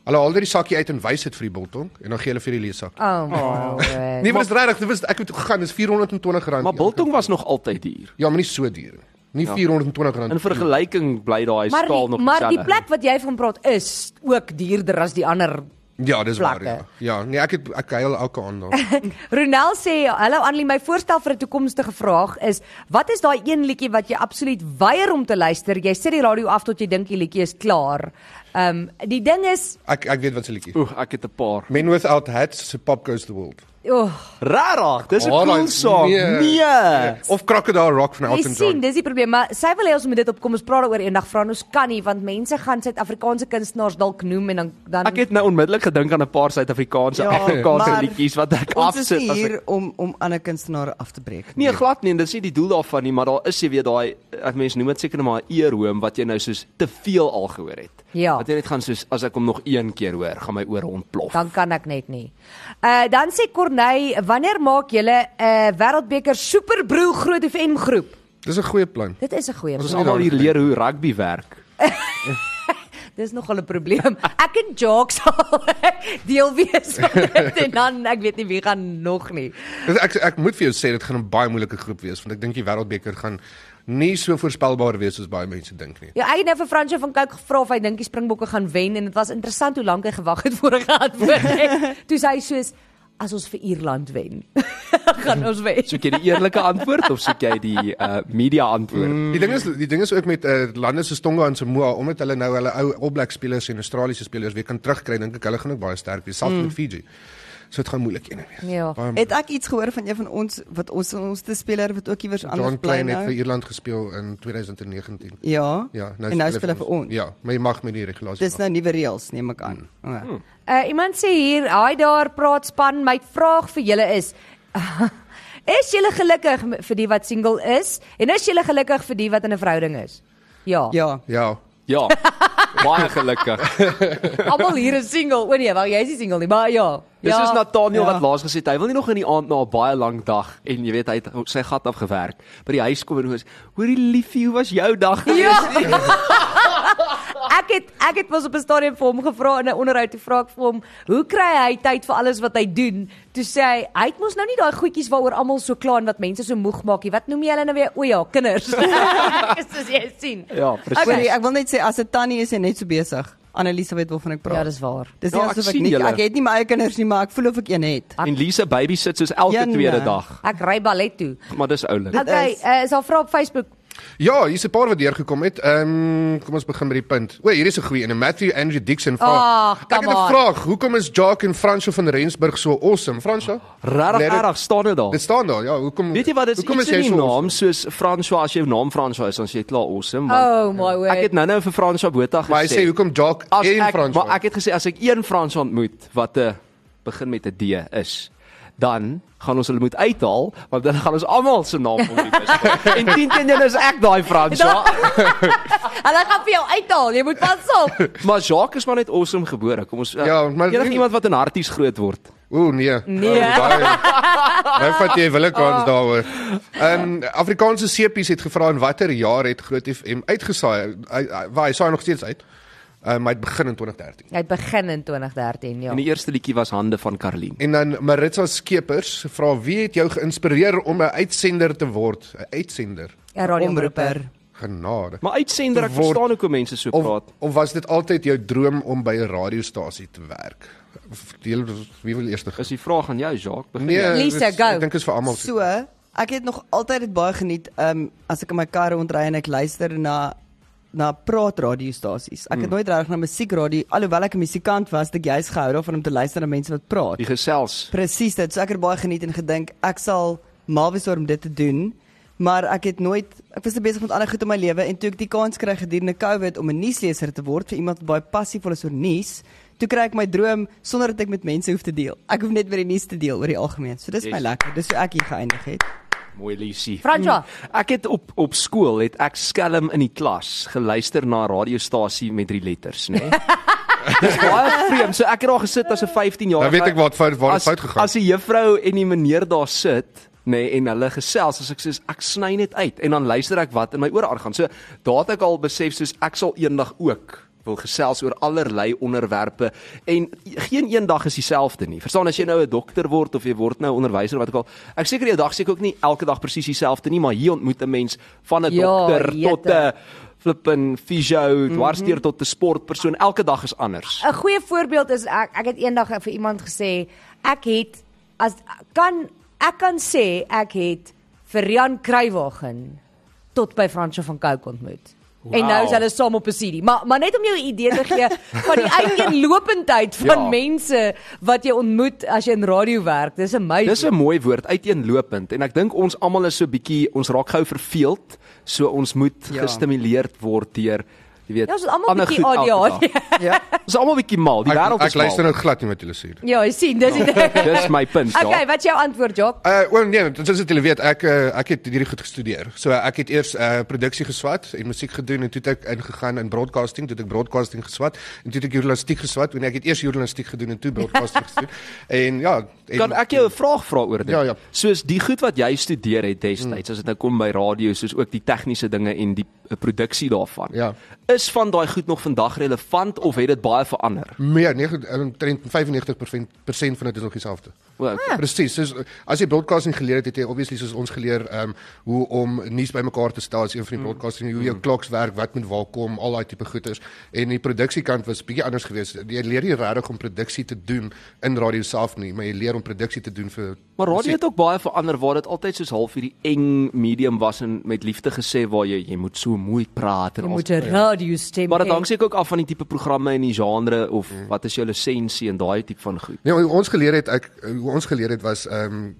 D: Hulle haal net die sakkie uit en wys dit vir die biltong en dan gee hulle vir die leesak.
C: Ah,
B: Oh, my
D: Nee,
B: word.
D: maar dis regtig, dit was ek het gegaan, dis R420.
C: Maar Ja. biltong was nog altyd duur.
D: Ja, maar nie so duur nie. Nie R420.
C: In vergelyking bly daai
B: maar
C: skaal
B: die,
C: nog
B: maar die
C: dieselfde.
B: plek wat jy van praat is ook duurder as die ander.
D: Ja, dis waar. Ja.
B: Plakke.
D: ja, nee, ek het ek huil elke aand daar.
B: Ronel sê, "Hallo Annelie, my voorstel vir 'n toekomstige vraag is, wat is daai een liedjie wat jy absoluut weier om te luister? Jy sit die radio af tot jy dink die liedjie is klaar." Ehm um, die ding is,
D: Ek ek weet wat se liedjie.
C: Oeg, ek het 'n paar.
D: Men without hats se Pop Goes the World.
B: oh,
C: Rarig, dis 'n
D: Rarig,
C: cool song.
D: nee.
C: Nee.
D: Of Crocodile Rock van
B: Jy
D: Elton
B: sien,
D: John.
B: dis die probleem, maar sy wil hê ons moet dit op kom ons praat daaroor eendag vra en ons kan nie want mense gaan Suid-Afrikaanse kunstenaars dalk noem en dan dan
C: Ek het nou onmiddellik gedink aan 'n paar Suid-Afrikaanse
F: Ja,
C: Afrikaanse
F: maar
C: liedjies wat ek
F: Ons is
C: afsit
F: nie
C: as
F: hier
C: ek
F: om om ander kunstenaars af te breek.
C: Nee, glad nie, en dit is nie die doel daarvan nie, maar daar is jy weet daai ek mens noem dit seker net maar 'n eerhoom wat jy nou soos te veel al gehoor het.
B: Ja.
C: Wat jy net gaan soos as ek hom nog een keer hoor, gaan my oor ontplof.
B: Dan kan ek net nie. Uh dan sê Corney, wanneer maak julle 'n uh, Wêreldbeker Superbroe Groot FM groep?
D: Dis 'n goeie plan.
B: Dit is 'n goeie.
C: Ons is
B: plan.
C: almal hier leer hoe rugby werk.
B: Dis nogal 'n probleem. Ek en Jacques sal deel wees van dit en dan ek weet nie wie gaan nog nie.
D: Dis ek ek moet vir jou sê dit gaan 'n baie moeilike groep wees want ek dink die wêreldbeker gaan nie so voorspelbaar wees soos baie mense dink nie.
B: Ja, ek het nou vir Fransjo van Kyk gevra of hy dink die Springbokke gaan wen en dit was interessant hoe lank hy gewag het voor hy geantwoord het. Toe sê hy soos as ons vir Ierland wen, gaan ons wen.
C: Soek jy die eerlike antwoord of soek jy die uh media antwoord? Mm.
D: Die ding is die ding is ook met uh, lande soos Tonga en Samoa omdat hulle nou hulle ou All Black spelers en Australiese spelers weer kan terugkry, dink ek hulle gaan ook baie sterk wees, selfs mm. met Fiji. So dit gaan moeilik een wees.
B: Ja.
D: Baie moeilik.
F: Nee. Het ek iets gehoor van een van ons wat ons ons te speler wat ook iewers anders
D: John Klein het
F: nou?
D: vir Ierland gespeel in 2019.
F: Ja.
D: Ja,
F: en nou speel hy vir ons.
D: Ja, maar jy mag met die regulasie.
F: Dis nou nuwe reëls neem ek aan. Ja. Okay.
B: Uh iemand sê hier, "Haai daar, praat span, my vraag vir julle is Is julle gelukkig m- vir die wat single is en is julle gelukkig vir die wat in 'n verhouding is?" Ja.
F: Ja.
D: Ja.
C: Ja. Baie gelukkig.
B: Almal hier is single. O nee, wel jy is nie single nie, maar ja.
C: Dis
B: ja.
C: is Nathaniel
F: Ja.
C: wat laas gesê het hy wil nie nog in die aand na 'n baie lang dag en jy weet hy het sy gat afgewerk by die huis kom en hoor hoorie liefie hoe was jou dag gewees? Ja.
B: Ek het ek het mos op 'n stadium vir hom gevra in 'n onderhoud te vra ek vir hom, "Hoe kry hy tyd vir alles wat hy doen?" Toe sê hy, "Hy het mos nou nie daai goedjies waaroor almal so kla en wat mense so moeg maak nie. Wat noem jy hulle nou weer? O ja, kinders." Ek is soos jy sien.
C: Ja, presies.
B: Okay.
F: Sorry, ek wil net sê as 'n tannie is jy net so besig. Annelise weet waarvan ek praat.
B: Ja, dis waar.
F: Dis nie
C: Ja,
F: ja,
C: ek
F: asof ek
C: sien
F: nie
C: julle.
F: ek het nie my eie kinders nie, maar ek voel of ek een het.
C: En Lise baby sit soos elke
F: Jenne.
C: tweede dag,
B: Ek ry ballet toe.
C: maar dis oulik.
B: Okay,
F: is-
B: uh, is al vra op Facebook.
D: Ja, hier's 'n paar wat deurgekom het. Ehm um, kom ons begin met die punt. O, hier is 'n goeie een. Matthew Andrew Dixon vra.
B: Ah,
D: ek het
B: come
D: 'n
B: on.
D: vraag. Hoekom is Jacques en Fransjo van Rensburg so awesome? Fransjo?
C: Regtig erg staan dit daar.
D: Nee, Dit staan daar. Ja, hoekom
C: Ah, Weet jy wat dit is?
D: hoekom
C: Iets in die
D: awesome?
C: naam soos François as jou naam François is, dan sê jy klaar awesome.
B: Oh my word.
C: Ek het nou-nou vir François Botha gesê.
D: Maar hy sê hoekom Jacques
C: as
D: en
C: ek
D: Fransjo?
C: maar ek het gesê as ek een François ontmoet wat 'n begin met 'n D is, dan gaan ons hulle moet uithaal want dan gaan ons almal se naam ontmoet. en 10 teen 1 is ek daai
D: Ja.
C: ja. François.
B: Hulle gaan vir jou uithaal. Jy moet pas op.
C: maar Jacques is maar net awesome gebore. Kom ons eh,
D: Ja, maar-
C: enige iemand wat in harties groot word.
D: O nee.
B: Nee. Ah.
D: Oh, daai- Nou vat jy wille kans daaroor. Ehm Afrikaanse sepies het gevra in watter jaar het Groot FM uitgesaai? Hy- hy- Waar hy saai nog steeds uit. Ehm hy het begin in 2013.
B: Hy het begin in 2013, ja.
C: En die eerste liedjie was Hande van Karlien.
D: En dan Maritza Skeepers vra wie het jou geïnspireer om 'n uitsender te word? 'n Uitsender.
B: Ja, radio omroeper.
F: Omroeper.
D: Genade.
C: Maar uitsender ek
D: Word-
C: verstaan hoekom mense so
D: Of
C: praat.
D: of was dit altyd jou droom om by 'n radiostasie te werk? Of Deel wie wil eers
C: Is die vraag aan jou Jacques? Begin
D: Nee.
C: jy?
B: Lisa,
D: dis-
B: go.
D: Ek dink is vir almal.
F: So, ek het nog altyd dit baie geniet um as ek in my kar rondry en ek luister na na praatradiostasies. Ek
C: Hmm.
F: het nooit reg na musiekradio alhoewel ek 'n musikant was, het ek juis gehou daarvan om te luister na mense wat praat.
C: Die gesels.
F: Presies dit. So ek het baie geniet en gedink ek sal mal wees oor om dit te doen. Maar ek het nooit ek was te besig met ander goed in my lewe en toe ek die kans kry gedurende COVID om 'n nuusleser te word vir iemand wat baie passievol is oor nuus, toe kry ek my droom sonder dat ek met mense hoef te deel. Ek hoef net met die nuus te deel oor die algemeen. So dis yes. my
C: Yes.
F: lekker. Dis hoe ek hier geëindig het.
C: Mooi Lisie.
B: Franswa.
C: Mm. Ek het op op skool het ek skelm in die klas geluister na 'n radiostasie met drie letters, né? Nee? Dis baie vreemd. So ek het daar gesit as 'n 15 jaar.
D: Nou weet ek wat fout waar dit
C: as,
D: fout gegaan.
C: As die juffrou en die meneer daar sit, nê, nee, en hulle gesels, as ek sê ek sny net uit en dan luister ek wat in my ore aangaan. So daar het ek al besef soos ek sal eendag ook wil gesels oor allerlei onderwerpe en geen een dag is dieselfde nie. Verstaan as jy nou 'n dokter word of jy word nou 'n onderwyser wat ook al. Ek seker jou dag seker ook nie elke dag presies dieselfde nie, maar hier ontmoet 'n mens van 'n
B: Ja,
C: dokter tot
B: jete.
C: 'n flippin fisio, dwarsteer tot 'n sportpersoon. Elke dag is anders.
B: 'n goeie voorbeeld is ek ek het eendag vir iemand gesê ek het as kan ek kan sê ek het vir Rian Kruiwagen tot by Fransjo van Cooke ontmoet. Wow. En nou is hulle saam op 'n CD. Maar maar net om jou 'n idee te gee van die uiteenlopendheid van
C: Ja.
B: ja. mense wat jy ontmoet as jy in radio werk. Dis amazing.
C: Dis 'n mooi woord, uiteenlopend en ek dink ons almal is so bietjie ons raak gou verveeld, so ons moet ja.
F: Ja.
C: gestimuleerd word deur jy weet
B: Ja, ons is almal bietjie ADHD.
C: ADHD.
F: Ja.
C: Ons is almal bietjie mal, die
D: Ek,
C: wêreld
D: ek
C: is mal.
D: luister nou glad nie wat julle sê. nie.
B: Ja, jy sien, dis die ding.
C: Dis my punt, ja.
B: Okay, wat is jou antwoord, Jock?
D: Uh o nee, dit is dit julle weet ek uh, ek het hierdie goed gestudeer. So uh, ek het eers uh produksie geswat en musiek gedoen en toe het ek ingegaan in broadcasting, toe het ek broadcasting geswat en toe het ek journalistiek geswat en ek het eers journalistiek gedoen en toe broadcasting gedoen. En ja, en,
C: Kan ek jou 'n vraag vra oor dit?
D: Ja, Hmm. ja.
C: Soos die goed wat jy studeer het destyds, as dit nou kom by radio, soos ook die tegniese dinge en die eh, produksie daarvan.
D: Ja.
C: Is van daai goed nog vandag relevant of het dit baie verander?
D: meer 9 omtrent 95% persent van dit is nog dieselfde.
C: Wel, okay.
D: Presies. Soos uh, as jy broadcasting geleer het, het jy obviously soos ons geleer ehm um, hoe om nuus bymekaar te stel as een
C: Hmm.
D: van die broadcasting hoe jou kloks werk, wat moet waar kom, al daai tipe goeders. En die produksiekant was bietjie anders geweest. Jy leer nie regtig om produksie te doen in radio self nie, maar jy leer om produksie te doen vir
C: Maar radio
D: musiek.
C: het ook baie verander waar dit altyd soos half hierdie eng medium was en met liefde gesê waar jy jy moet so mooi praat en
B: Jy
C: al-
B: moet 'n radio stem
C: Maar dit
B: hê.
C: hang seker ook af van die tipe programme en die genre of mm. wat is jou lisensie en daai tipe van goed.
D: Nee, hoe ons geleer het ek hoe ons geleer het was ehm um,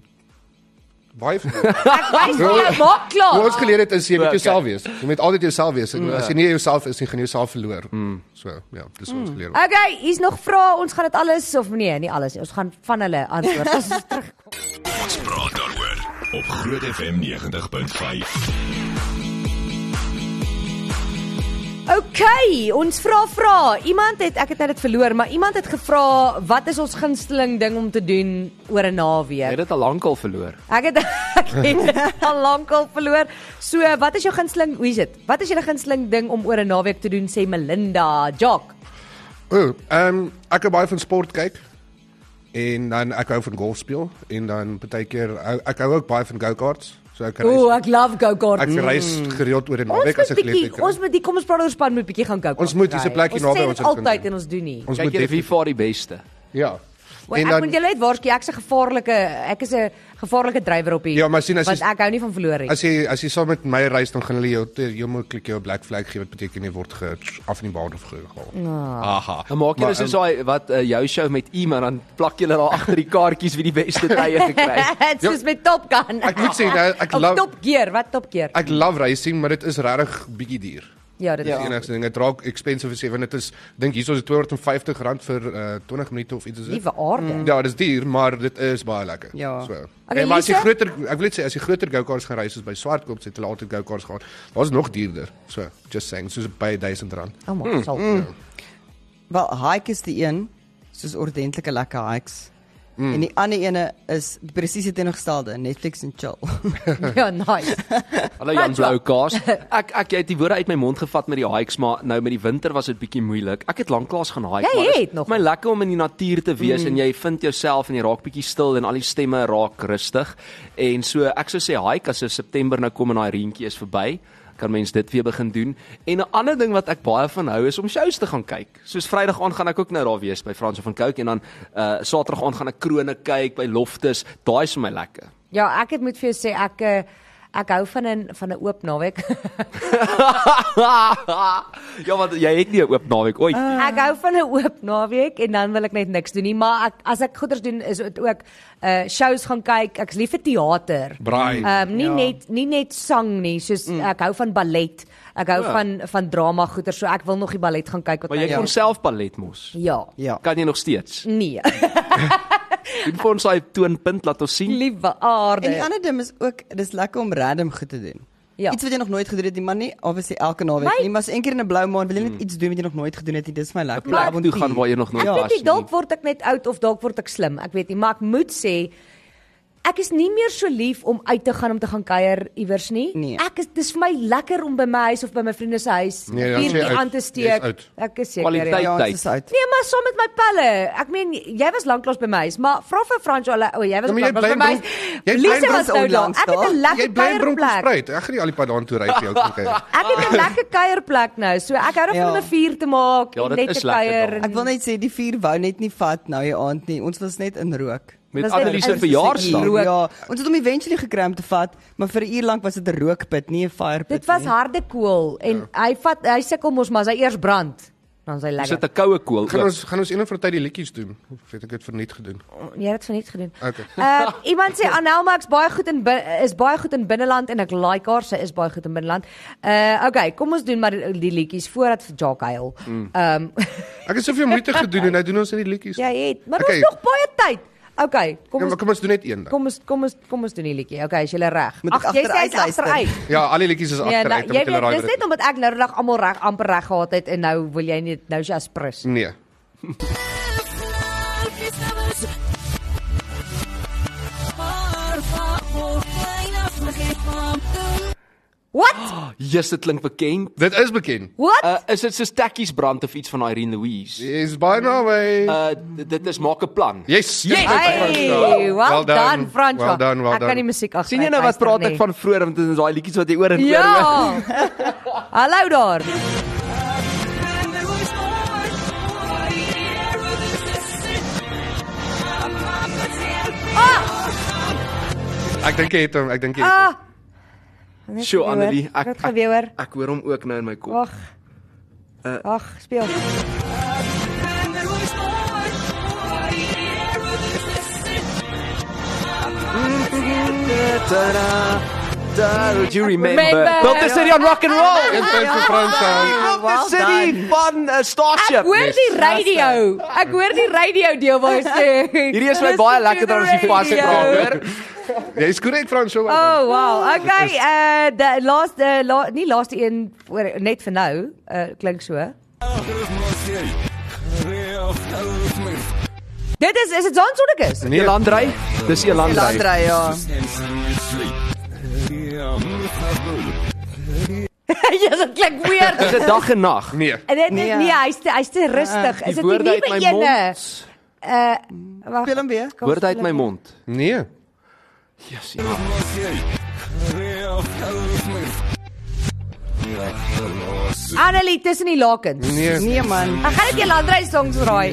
D: baie van
B: Ek wys vir jou maak
D: Hoe
B: klaar.
D: ons geleer het is jy moet
C: Okay.
D: jouself wees. Jy moet altyd jouself wees. En as jy nie jouself is nie, gaan jy jouself verloor. So, ja, dis
C: Hmm.
D: wat ons geleer. het.
B: Okay, hier's nog vrae. Ons gaan dit alles of nee, nie alles. nie. Ons gaan van hulle antwoord. Ons is terug.
A: Ons praat daaroor op Groot FM 90.5.
B: Okay, ons vra vra. Iemand het ek het net dit verloor, maar iemand het gevra wat is ons gunsteling ding om te doen oor 'n
C: Jy
B: naweek?
C: het dit al lank al verloor.
B: Ek het ek het dit al lankal verloor. So, wat is jou gunsteling? Hoe is dit? Wat is julle gunsteling ding om oor 'n naweek te doen sê Melinda? Jock.
D: O, ehm ek hou baie van sport kyk. En dan ek hou van golf speel en dan baie keer hou- ek hou ook baie van go-karts. So ek reis
B: Ooh, ek love go-kart.
D: ek reis gereeld oor 'n
B: Ons
D: naweek as
B: moet
D: ek
B: bietjie
D: geleentheid
B: ons
D: kry.
B: moet die kom ons praat oor span moet bietjie gaan go-kart.
D: Ons moet, dis 'n
B: ry.
D: plekkie naby
B: sê
D: ons
B: dit
D: wat ons kan
B: altyd
D: doen.
B: en ons doen nie.
D: Ons moet
C: Kyk jy
D: dit
C: wie vaar die beste.
D: ja.
B: Well, ek moet julle net waarsku, ek's 'n gevaarlike ek is 'n gevaarlike drywer op hier.
D: Ja, maar sien, as
B: want
D: jy-
B: ek hou nie van verloor nie.
D: As jy as jy saam met my reis dan gaan hulle jou te- jou moet klik jou black flag gee wat beteken jy word ge, af in die baan of gehaal.
B: Ja.
D: Aha.
C: Ja, Dan maak jy
D: Maar,
C: soos daai wat uh, jou show met iemand dan plak jy hulle daar agter die kaartjies wie die beste tye gekry het.
B: Dit is met Top Gun.
D: Ja. Ek moet sê, nou, ek
B: Of
D: love-
B: Top Gear, wat Top Gear?
D: Ek love racing, maar dit is regtig bietjie duur.
B: Ja, dit
D: Ja.
B: is.
D: Enigste ding, dit raak expensive as jy want dit is dink hierso is dit R250 vir uh, 20 minute of iets is dit.
B: Liewe aarde.
D: Ja, dis duur, maar dit is baie lekker.
F: Ja.
D: So.
B: Okay,
D: Okay, en maar as jy
B: Lise?
D: groter ek wil net sê as jy groter go-karts gaan ry soos by Swartkop, het hulle altyd go-karts gehad. Daar's nog duurder. So, just saying, soos by R1000.
B: Oh my god.
D: mm,
F: Wel, hike is die een, soos ordentlike lekker hikes. Mm. En die ander ene is presies die teenoorgestelde, Netflix en chill.
B: Ja, nice.
C: Hallo Jan
B: Menswa.
C: Bloukaas. Ek ek jy het die woorde uit my mond gevat met die hikes, maar nou met die winter was dit bietjie moeilik. Ek het lanklaas gaan hike,
B: Jy
C: maar
B: het nog.
C: my lekker om in die natuur te wees mm. en jy vind jouself en jy raak bietjie stil en al die stemme raak rustig. En so ek sou sê hike as 'n September nou kom en daai reentjie is verby kan mens dit weer begin doen. En 'n ander ding wat ek baie van hou is om shows te gaan kyk. Soos Vrydag aand gaan ek ook nou daar wees by Frans van Cooke en dan uh Saterdag aand gaan ek Krone kyk by Loftus. Daai is vir my lekker.
B: Ja, ek het moet vir jou sê ek eh, ek hou van 'n van 'n oop naweek.
C: ja, want jy het nie 'n oop naweek ooit nie.
B: ek hou van 'n oop naweek en dan wil ek net niks doen nie, maar ek as ek goeders doen is dit ook uh shows gaan kyk. Ek's lief vir teater.
D: Braai.
B: Ehm um, nie
F: Ja.
B: ja. net nie net sang nie, soos mm. ek hou van ballet. Ek hou ja. van van drama goeder, so ek wil nog die ballet gaan kyk wat
C: Maar jy
B: my-
C: kon self ballet mos.
B: Ja.
F: ja.
C: Kan jy nog steeds?
B: Nee.
C: Doen vir ons daai toonpunt laat ons sien.
B: Liewe aarde.
F: En die ander ding is ook dis lekker om random goed te doen.
B: Nee. Ja.
F: Iets wat jy nog nooit gedoen het nie, maar nie obviously elke
B: My-
F: naweek nie, maar as een keer in 'n blou maan wil jy net iets doen wat jy nog nooit gedoen het nie. Dis vir my lekker.
C: Hmm. plek
F: Avontuur.
C: toe gaan waar jy nog nooit
B: Ek
C: Ja,
B: weet nie
C: as
B: dalk
C: nie.
B: word ek net oud of dalk word ek slim, ek weet nie, maar ek moet sê ek is nie meer so lief om uit te gaan om te gaan kuier iewers nie.
F: Nee.
B: Ek is dis vir my lekker om by my huis of by my vriende se huis
D: Nee, dan is jy
B: vuurtjie
D: uit.
B: aan te
D: Jy is
B: steek.
D: uit.
B: Ek is seker
C: Kwaliteit
B: ja.
F: Ja,
C: tyd.
F: dit is uit.
B: Nee, maar saam met my pelle. Ek meen jy was lanklaas by my huis, maar vra vir Frans hulle, o, jy was
D: Ja, maar jy
B: lanklaas
D: bly
B: by my
D: in
B: huis.
D: Bronk- jy bly in
B: Lise was
F: Bronk
B: nou daar.
F: onlangs
B: Ek het 'n
F: daar.
D: Jy
B: lekker
D: bly in
B: kuierplek.
D: Bronkhorst. Ek gaan nie al die pad daartoe ry vir jou kom kyk.
B: Ek het 'n
D: Ah.
B: lekker kuierplek nou. So ek hou daarvan
F: Ja.
B: om 'n vuur te maak,
C: Ja,
B: en
C: dit
B: net
C: is
B: te
C: lekker
B: kuier.
C: daar.
B: en-
F: Ek wil net sê die vier wou net nie vat nou die aand nie. Ons was net in rook.
C: Met
B: was dit
C: Annelies se
B: in-
C: verjaarsdag.
B: in-
F: Rook. Ja, ons het hom eventually gekram te vat, maar vir 'n uur lank was dit 'n rookpit, nie 'n firepit
B: Dit was
F: nie.
B: harde kool en ja. hy vat hy sukkel mos maar as hy eers brand dan is hy
C: Sit
B: lekker.
C: 'n koue koel.
D: Gaan
C: oop.
D: ons gaan ons eendag vir tyd die liedjies doen. Ek weet ek het verniet gedoen.
B: Jy het dit verniet gedoen.
D: Okay.
B: Uh iemand sê Anelmax baie goed in bin- is baie goed in binneland en ek like haar, sy is baie goed in binneland. Uh okay, kom ons doen maar die, die liedjies voordat vir Jock huil.
D: Mm.
B: Ehm um,
D: Ek het soveel moeite gedoen en nou doen ons net die liedjies.
B: Ja, jy het, maar
D: Okay.
B: okay. ons nog baie tyd. Okay,
D: Ja,
B: kom
D: maar
B: ons
D: kom ons doen net een dan.
B: kom ons kom ons kom ons doen die liedjie. Okay, is jy reg?
F: Moet ek
B: Ag, jy sê
F: agteruit
B: hy's
F: luister?
B: agteruit.
D: Ja, al die liedjies is
B: Ja, nou,
D: agteruit
B: jy
D: met hulle
B: weet,
D: raai.
B: dis net omdat ek nou dag almal reg amper reg gehad het en nou wil jy nie nou is jy aspres.
D: Nee.
B: What?
C: Ah, Jesus, dit klink bekend.
D: Dit is bekend.
B: What?
C: Uh is dit soos Tekkies brand of iets van Irene Louise?
D: Is baie naby.
B: Eh,
C: Uh dit- dit is maak 'n plan.
D: Yes. yes.
B: Hey, well, well done, Franco.
D: Well done, well
B: ek kan nie
D: done.
B: musiek nee. agter.
C: sien jy nou wat praat ek van vroeër want dit is daai liedjies wat jy oor en oor hoor.
B: Ja. Hallo daar.
D: Ek dink jy het hom, ek dink jy het hom.
B: Ah.
C: Sjoe Annelie,
B: ek
C: ek
B: het geweer.
C: ek hoor hom ook nou in my kop.
B: Ag.
C: Eh.
B: Ag, speel.
C: Ta-da. Da, would you remember?
B: Remember.
C: Tot is dit on rock and roll.
D: Een punt vir Frans. eh.
C: Rock the
B: Ah,
F: well
C: City van uh, Starship.
B: Ek hoor die radio. Ek hoor die radio deel waar hy sê.
C: Hierdie is my baie lekkerder as die vas praat, hoor.
D: Jy's korrek Fransjo.
B: Oh wow. Okay, uh die laaste uh, la, nie laaste een oor, net vir nou, uh klink so. Dit is is dit John Sodekus.
D: Nee.
C: Elandrey, dis Elandrey.
F: Landry ja.
B: ja, dit klink
C: Dis
B: weird.
C: 'n dag en nag.
D: Nee.
B: En dit nee,
F: Nee.
B: nee hy's te- hy's te rustig. is dit die nuwe ene? Uh wag.
F: Speel hom weer.
B: kom,
C: Woord uit
B: speel
C: my
B: hom.
C: mond.
D: Nee.
C: Jesus. ja.
B: Annelie tussen die lakens.
D: Nee.
F: Nee man.
B: Ek gaan dit Elandrey songs raai.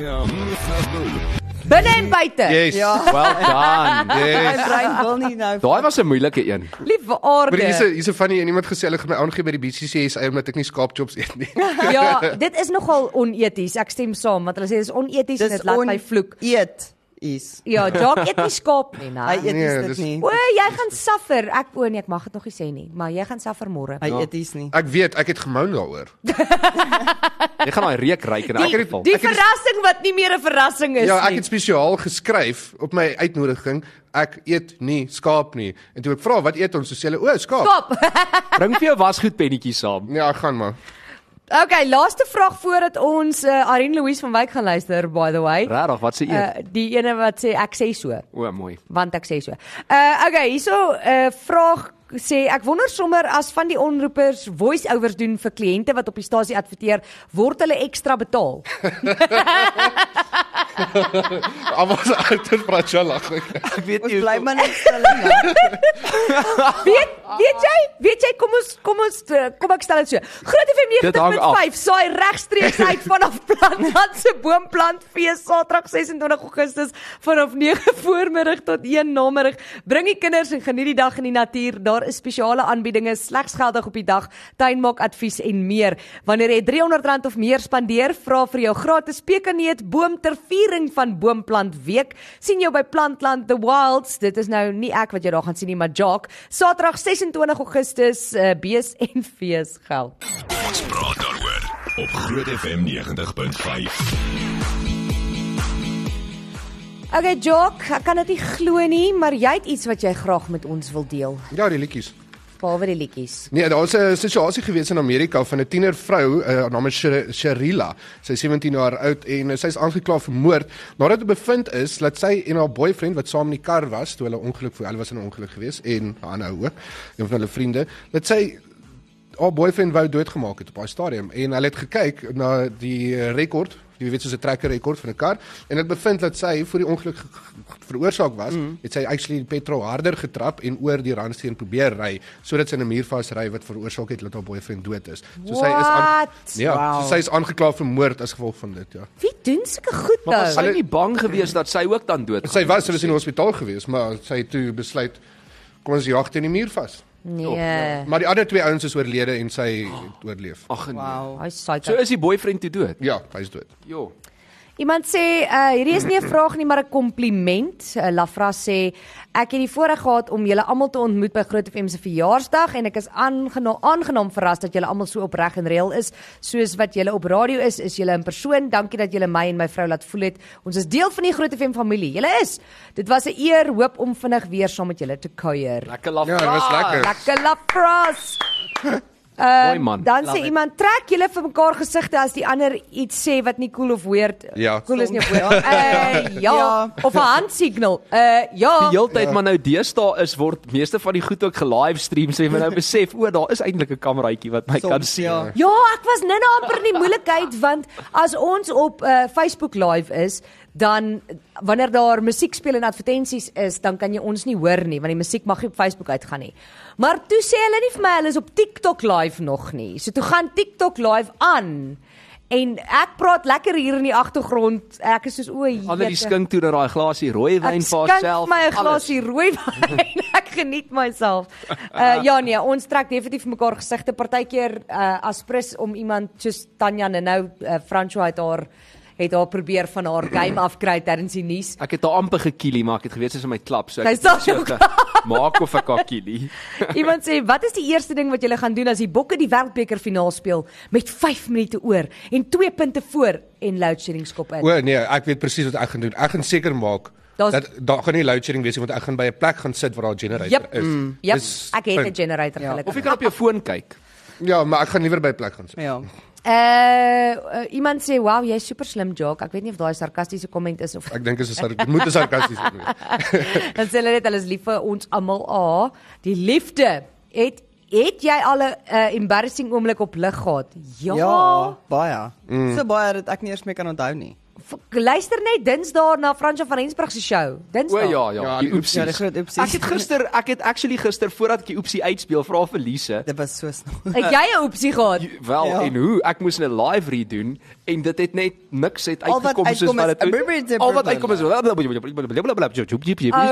B: Binne en buite.
D: Ja. Yes.
F: Ja.
C: Well done.
F: My
D: Yes.
F: brein wil nie nou.
C: Daai was 'n moeilike een.
B: Liewe
D: Maar hier's 'n
B: aarde.
D: hier's 'n funny en iemand gesê hulle gaan my aangee by die BCCS omdat ek nie skaapchops eet nie.
B: Ja, dit is nogal oneties. Ek stem saam want hulle sê dit is oneties en
F: Dis
B: dit laat my vloek.
F: Eet is.
B: Ja, Jock eet nie skaap nie,
F: Hy
B: nou.
F: eet
D: Nee,
F: is
D: dis-
F: dit nie.
B: O, jy gaan suffer. Ek o nee, ek mag dit nog nie sê nie, maar jy gaan suffer môre.
C: Ja.
F: Hy eet is nie.
D: Ek weet, ek het gemou daaroor.
C: Jy gaan daai reuk ry in elk
B: Die,
C: geval.
B: die
D: Ek het die-
B: verrassing wat nie meer 'n verrassing is
D: Ja, ek
B: nie.
D: het spesiaal geskryf op my uitnodiging, ek eet nie skaap nie. En toe ek vra wat eet ons, so sê hulle o, skaap.
B: Kop.
C: Bring vir jou wasgoed pennetjies saam.
D: Ja, gaan maar.
B: Okay, laaste vraag voordat ons uh, Arin Louise van Wyk gaan luister by the way.
C: Regtig, wat se eet?
B: Uh, die ene wat sê ek sê so.
C: O, mooi.
B: want ek sê so. Uh okay, hierso 'n uh, vraag sê ek wonder sommer as van die onroepers voice-overs doen vir kliënte wat op die stasie adverteer, word hulle ekstra betaal?
D: Almal se ouer Fransjo lag.
F: Ek weet nie. Ons bly maar net stil nou.
B: weet weet jy? Weet jy kom ons kom ons eh, kom ek stel dit so. Groot FM
C: Dit hang af.
B: 90.5 saai regstreeks uit vanaf Plantland se boomplantfees Saterdag 26 Augustus vanaf 9 voormiddag tot 1 namiddag. Bring die kinders en geniet die dag in die natuur. Daar is spesiale aanbiedinge slegs geldig op die dag, tuinmaak advies en meer. Wanneer jy R300 of meer spandeer, vra vir jou gratis pekaneet boom ter viering van Boomplant Week. sien jou by Plantland The Wilds. Dit is nou nie ek wat jou daar gaan sien nie, maar Jock. Saterdag 26 Augustus uh, bees en fees geld.
A: Ons praat daaroor op Groot FM 90.5.
B: Okay Jock, ek kan dit nie glo nie, maar jy het iets wat jy graag met ons wil deel,
D: Ja, die liedjies.
B: behalwe die liedjies.
D: Nee, daar's 'n situasie gewees in Amerika van 'n tiener vrou, uh, naam is Sher- Sherila. Sy is 17 jaar oud en uh, sy is aangekla vir moord nadat dit bevind is dat sy en haar boyfriend wat saam in die kar was toe hulle ongeluk voor hulle was in 'n ongeluk gewees en haar ander ou ook, een van hulle vriende, dat sy haar boyfriend wou doodgemaak het op daai stadium en hulle het gekyk na die eh, rekord jy weet soos 'n trekker rekord van 'n kar en dit bevind dat sy voor die ongeluk ge- ge- veroorsaak was mm. het sy actually die petrol harder getrap en oor die randsteen probeer ry sodat sy in 'n muur vasry wat veroorsaak het dat haar boyfriend dood is so sy is aan,
B: What?
D: ja wow. so
F: Wow.
D: sy is aangekla vir moord as gevolg van dit ja
B: Wie doen sulke goed
C: Maar was
B: nou?
C: sy nie bang gewees dat sy ook dan dood
D: sy was sy was in die hospitaal gewees maar sy het toe besluit kom ons jag teen die muur vas
C: Ja.
B: Nee.
D: maar die ander twee ouens is oorlede en sy het oorleef
C: Ag nee.
F: Wow.
B: Hy sê
C: So is die boyfriend toe dood.
D: ja hy's dood
C: Jo.
B: Iemand sê uh, hierdie is nie 'n vraag nie maar 'n kompliment. Uh, Lafra sê ek het die voorreg gehad om julle almal te ontmoet by Groot FM se verjaarsdag en ek is aangena aangenaam verras dat julle almal so opreg en reël is soos wat julle op radio is, is julle in persoon. Dankie dat julle my en my vrou laat voel het. Ons is deel van die Groot FM familie. Julle is. Dit was 'n eer hoop om vinnig weer saam met julle te kuier.
C: Lekker laf.
D: Ja, dit was lekker.
B: Lekker Lafras.
C: Mooi man.
B: Dan
F: Love
B: sê
F: it.
B: iemand trek julle vir mekaar gesigte as die ander iets sê wat nie cool of weird
D: Ja.
B: cool is nie of weird. Uh, ja,
F: Ja.
B: of 'n handsignaal. Uh
C: Die
B: ja.
C: heeltyd maar nou deesdae is word meeste van die goed ook gelivestream so jy moet nou besef o daar is eintlik 'n kameraitjie wat my kan
F: Soms,
C: sien.
F: ja.
B: Ja, ek was nou nou amper in die moeilikheid want as ons op uh Facebook live is, dan wanneer daar musiek speel en advertensies is, dan kan jy ons nie hoor nie want die musiek mag nie op Facebook uitgaan nie. Maar toe sê hulle nie vir my hulle is op TikTok live nog nie. So toe gaan TikTok live aan. En ek praat lekker hier in die agtergrond. Ek is soos o,
C: Annelie
B: jete.
C: skink toe na daai glasie rooi wyn vir
B: Ek
C: haarself.
B: skink my 'n
C: alles.
B: glasie rooi wyn. ek geniet myself. Uh ja nee, ons trek definitief mekaar gesigte partykeer uh as prins om iemand soos Tanya nou uh, François het haar het haar probeer van haar game afkry terwyl sy nuus.
C: Ek het haar amper gekielie maar ek het geweet sy is in my klap so ek
B: Sy
C: het net
B: staan jou
C: ge- maak of ek haar kielie.
B: Iemand sê, "Wat is die eerste ding wat julle gaan doen as die Bokke die Wêreldbeker finaal speel met 5 minute oor en 2 punte voor en load shedding skop in?"
D: O nee, ek weet presies wat ek gaan doen. Ek gaan seker maak
B: Daar's
D: Dat daar gaan nie load shedding wees nie want ek gaan by 'n plek gaan sit waar daar 'n generator
B: Jyp.
D: is.
B: Ja,
D: Dis
B: ek het 'n
D: punt.
B: generator
F: Ja.
B: gelukkig.
C: Of jy kan op jou foon kyk.
D: Ja, maar ek gaan liewer by 'n plek gaan sit.
F: Ja.
B: Eh uh, iemand sê, "Wow, jy's super slim, Jock." Ek weet nie of daai sarkastiese komment is of
D: Ek dink is 'n sar- dit moet 'n sarkasties wees.
B: dan sê hulle net hulle is lief vir ons almal. A, die liefde. Het het jy al 'n uh, embarrassing oomblik op lig gehad? Ja.
F: Ja, baie.
C: Mm.
F: So baie dat ek nie eers meer kan onthou nie.
B: F- Luister net Dinsdae na Fransjo van Rensburg se show.
C: O
B: Dinsdae.
C: ja, ja,
D: Ja,
C: die
D: die
C: oepsies.
F: Ja, die groot oepsies.
C: Ek het gister, ek het actually gister voordat ek die oepsie uitspeel, vra vir Lise.
F: Dit was so snaaks.
B: Het jy 'n oepsie gehad?
C: J- Wel,
F: Ja.
C: en hoe? Ek moes 'n live redoen en dit het net niks het
F: Al wat
C: uitgekom soos
F: uitkom
C: wat
F: is
C: dit
F: Abridged
C: Al wat uitkom is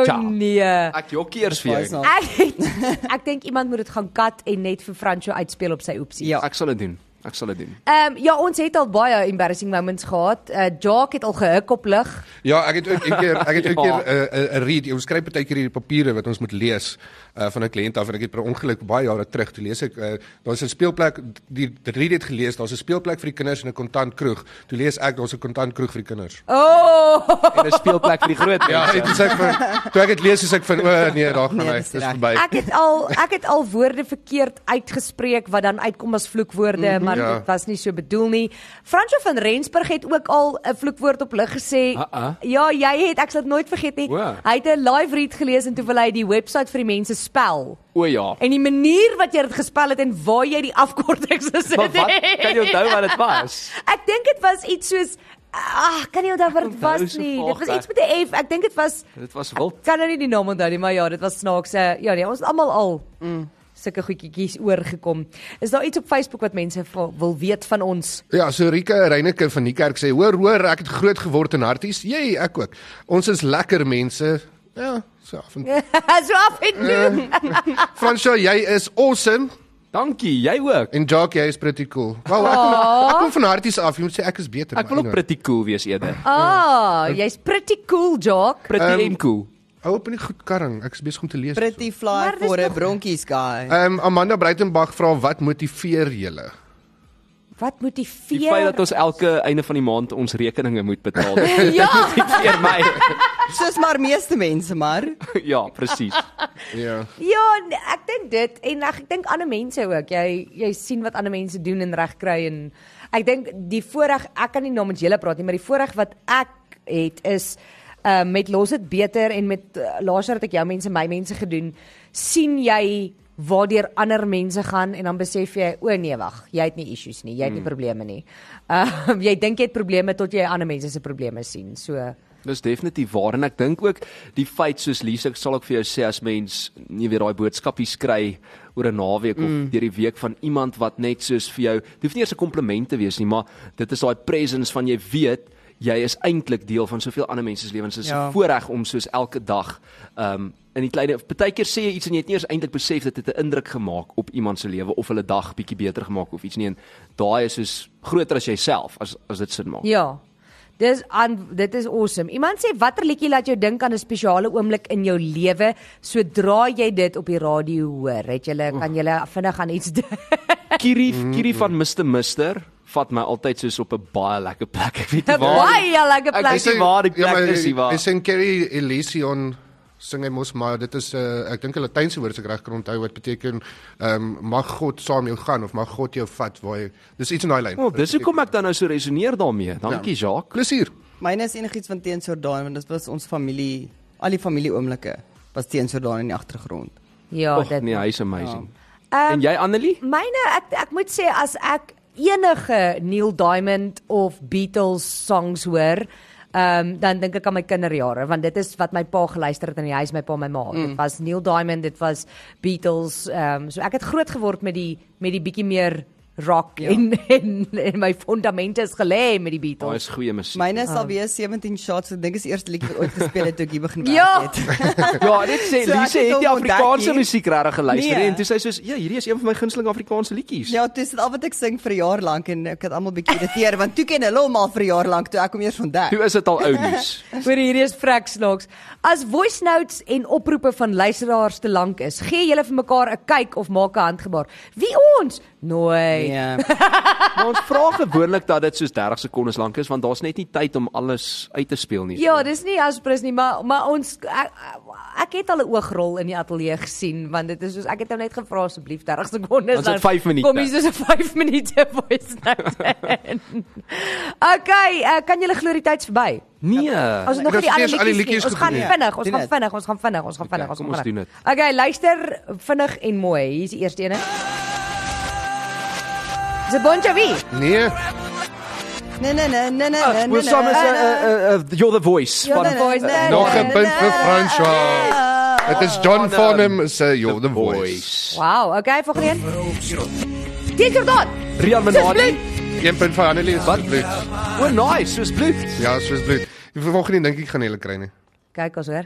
B: Oh nee.
C: Ek jokkie eers vir
F: Baie
C: jou.
F: snaaks.
B: Ek het- ek dink iemand moet dit gaan kat en net vir Fransjo uitspeel op sy oepsie.
F: Ja.
C: Ek sal dit doen. Ek sal dit doen.
B: Ehm um, ja, ons het al baie embarrassing moments gehad. Uh, Jock het al gehik op lig.
D: Ja, ek het ook 'n keer ek het ook 'n
C: Ja.
D: keer 'n uh, 'n read, ons skryf baie keer hierdie papiere wat ons moet lees uh, van 'n kliënt af en ek het per ongeluk baie jare terug toe lees ek uh, daar's 'n speelplek die die read het gelees, daar's 'n speelplek vir die kinders en 'n kontant kroeg. Toe lees ek daar's 'n kontant kroeg vir die kinders.
B: Oh!
C: En 'n speelplek vir die groot
D: Ja,
C: mense.
D: dit is ek vir toe ek dit lees is ek van o nee, daar gaan
F: Nee,
D: hy,
F: dis
D: dis
F: reg.
D: verby.
B: Ek het al ek het al woorde verkeerd uitgespreek wat dan uitkom as vloekwoorde, mm -hmm, maar
D: Ja.
B: dit was nie so bedoel nie. Fransjo van Rensburg het ook al 'n vloekwoord op lig gesê.
C: Ah, ah.
B: Ja, jy het ek sal dit nooit vergeet nie.
C: Wow.
B: Hy het 'n live read gelees en toe wil hy die webwerf vir die mense spel.
C: O ja.
B: En die manier wat jy dit gespel het en waar jy die afkortings gesit
C: Maar
B: het.
C: wat kan jy onthou wat dit was?
B: Ek dink dit was iets soos ag, kan nie onthou wat dit
C: Onthou
B: was
C: so
B: nie. Dit
C: vaag,
B: was
C: hè?
B: iets met 'n F. Ek dink dit was
C: Dit was wild.
B: Kan nou nie die naam onthou nie, maar ja, dit was snaaks. eh, Ja nee, ons het almal al mm. sulke goedjies oorgekom. Is daar iets op Facebook wat mense vra, wil weet van ons?
D: Ja, so Rika Reyneke van die kerk sê, "Hoor, hoor, ek het groot geword in harties. Jy, ek ook. Ons is lekker mense." Ja, so af en toe.
B: so af en toe.
D: Fransjo, jy is awesome.
C: Dankie, jy ook.
D: En Jock, jy is pretty cool. Wel, ek kom, ek kom van harties af. Jy moet sê ek is
F: Ja,
D: beter.
C: Ek wil
F: nou.
C: ook pretty cool wees eerder.
B: Ah, ehm, jy's pretty cool, Jock.
C: Pretty en cool.
D: Hou op in die goed karring. Ek is besig om te lees.
F: Pretty
B: Maar
F: fly
B: dis
F: for a
B: nog-
F: bronkies guy.
D: Ehm um, Amanda Breitenberg vra wat motiveer julle?
B: Wat
C: Die feit dat
B: motiveer?
C: ons elke einde van die maand ons rekeninge moet betaal. dit
B: Ja,
C: Motiveer my.
F: Soos maar meeste mense maar.
C: Ja, presies.
D: Ja.
B: ja, nee, ek dink dit en ek, ek dink ander mense ook. Jy jy sien wat ander mense doen en reg kry en ek dink die voorreg, ek kan nie namens julle praat nie, maar die voorreg wat ek het is uh met los dit beter en met uh, laasjaar het ek jou mense my mense gedoen, sien jy waardeur ander mense gaan en dan besef jy o nee wag, jy het nie issues nie, jy het nie probleme nie. Ehm jy dink jy het probleme tot jy ander mense se probleme sien. So
C: Dis definitief waar en ek dink ook die feit soos Lise ek sal ook vir jou sê as mens nie weet daai boodskappies kry oor 'n naweek of deur die week van iemand wat net soos vir jou, dit hoef nie eers 'n kompliment te wees nie, maar dit is daai presence van jy weet jy is eintlik deel van soveel ander mense se lewens. Dit is 'n
F: Ja.
C: voorreg om soos elke dag um in die klein partykeer sê jy iets en jy het nie eens eintlik besef dat dit 'n indruk gemaak op iemand se lewe of hulle dag bietjie beter gemaak of iets nie en daai is soos groter as jouself as as dit sin maak.
B: Ja. Dis aan dit is awesome. Iemand sê watter liedjie laat jou dink aan 'n spesiale oomblik in jou lewe sodra jy dit op die radio hoor. Het julle kan julle vinnig aan iets dink?
C: Kiri
D: Mhm,
C: Kiri van Mr Mister vat my altyd soos op 'n baie lekker plek. Ek weet nie waar.
B: Baie lekker
C: Ek
B: plek.
C: is nie waar die plek
D: ja, maar
C: is nie waar.
D: Hy sing Kerry Elysion sing hy mos maar dit is 'n uh, ek dink 'n Latynse woord as ek reg kan onthou wat beteken ehm um, mag God saam jou gaan of mag God jou vat waar jy Dis iets in daai lyn.
C: O, dis hoekom ek dan nou so resoneer daarmee. Dankie
D: Ja.
C: Jacques.
D: Plesier.
F: Myne is enigiets van Teen Jordaan want dit was ons familie, al die familieoomblikke was Teen Jordaan in die agtergrond.
B: Ja,
C: Ag
B: dit.
C: nee, hy's amazing.
F: Ja.
B: Ehm,
C: En jy Annelie?
F: Mm.
B: Myne ek ek moet sê as ek enige Neil Diamond of Beatles songs hoor, ehm um, dan dink ek aan my kinderjare want dit is wat my pa geluister het in die huis my pa en my ma. Mm. Dit was Neil Diamond, dit was Beatles. Ehm um, so ek het groot geword met die met die bietjie meer rock ja. en, en en my fundamente is gelê met die
C: Daai
B: Beatles.
C: is goeie musiek.
F: Myne
B: Ah.
F: sal weer 17 shots, ek dink is die eerste liedjie wat ooit gespeel het toe ek hier begin
B: Ja.
F: werk het.
C: Ja, dit sê
F: So, ek
C: Lise
F: het
C: het die
F: hom ontdek
C: Afrikaanse
F: hier.
C: musiek regtig geluister
F: Nee.
C: en toe sê sy soos, "Ja, hierdie is een van my gunsteling Afrikaanse liedjies."
F: Ja, dis al wat ek sing vir 'n jaar lank en ek het almal bietjie irriteer want toe ken hulle hom al vir 'n jaar lank toe ek hom eers ontdek.
C: Toe is dit al ou nuus.
B: Oor hierdie is vrek snaaks. As voice notes en oproepe van luisteraars te lank is, gee julle vir mekaar 'n kyk of maak 'n handgebaar. Wie ons. Nooit.
F: Nee.
C: Maar ons vra gewoonlik dat dit soos 30 sekondes lank is want daar's net nie tyd om alles uit te speel nie.
B: Ja, dis nie aspres nie, maar maar ons ek, ek het al 'n oogrol in die ateljee gesien want dit is soos ek het hom net gevra asseblief 30 sekondes
C: Ons het vyf minute.
B: Kom hier soos 'n 5 minute voice note. in. okay, uh, kan julle glo die tyd's verby?
C: Nee.
B: Ons het nog nie
D: Ek
B: die
D: het
B: ander
D: steeds al die
B: liedjies nie.
D: liedjies
B: Ons gaan
D: gedoen,
F: ja.
B: vinnig, ons
F: Doen
B: gaan
F: dit.
B: vinnig, ons gaan vinnig, ons gaan vinnig, ons
C: kom
B: gaan
C: ons
B: vinnig.
C: doen
B: Okay, luister vinnig en mooi. Hier is die eerste een. Zebonjavi.
D: Nee,
F: Nee nee nee nee nee. nee,
C: We're
F: nee,
C: some is
F: nee.
C: uh, uh, uh, you're the voice
B: You're
C: van
B: the voice.
C: eh,
B: Nee,
D: nog 'n
B: nee,
D: punt vir Fransha. Dit is John
C: um,
D: Farnham se You're the
C: the
D: Voice.
C: voice.
B: Wow, okay, volgende een. Teacher Don.
C: Rian Menadi.
D: Een punt vir Annelies.
C: Wat?
D: Wat bloed?
C: O, nice, soos bloed.
D: Ja, soos bloed. Die volgende dink ek gaan hulle kry nie.
B: Kyk ons hoor.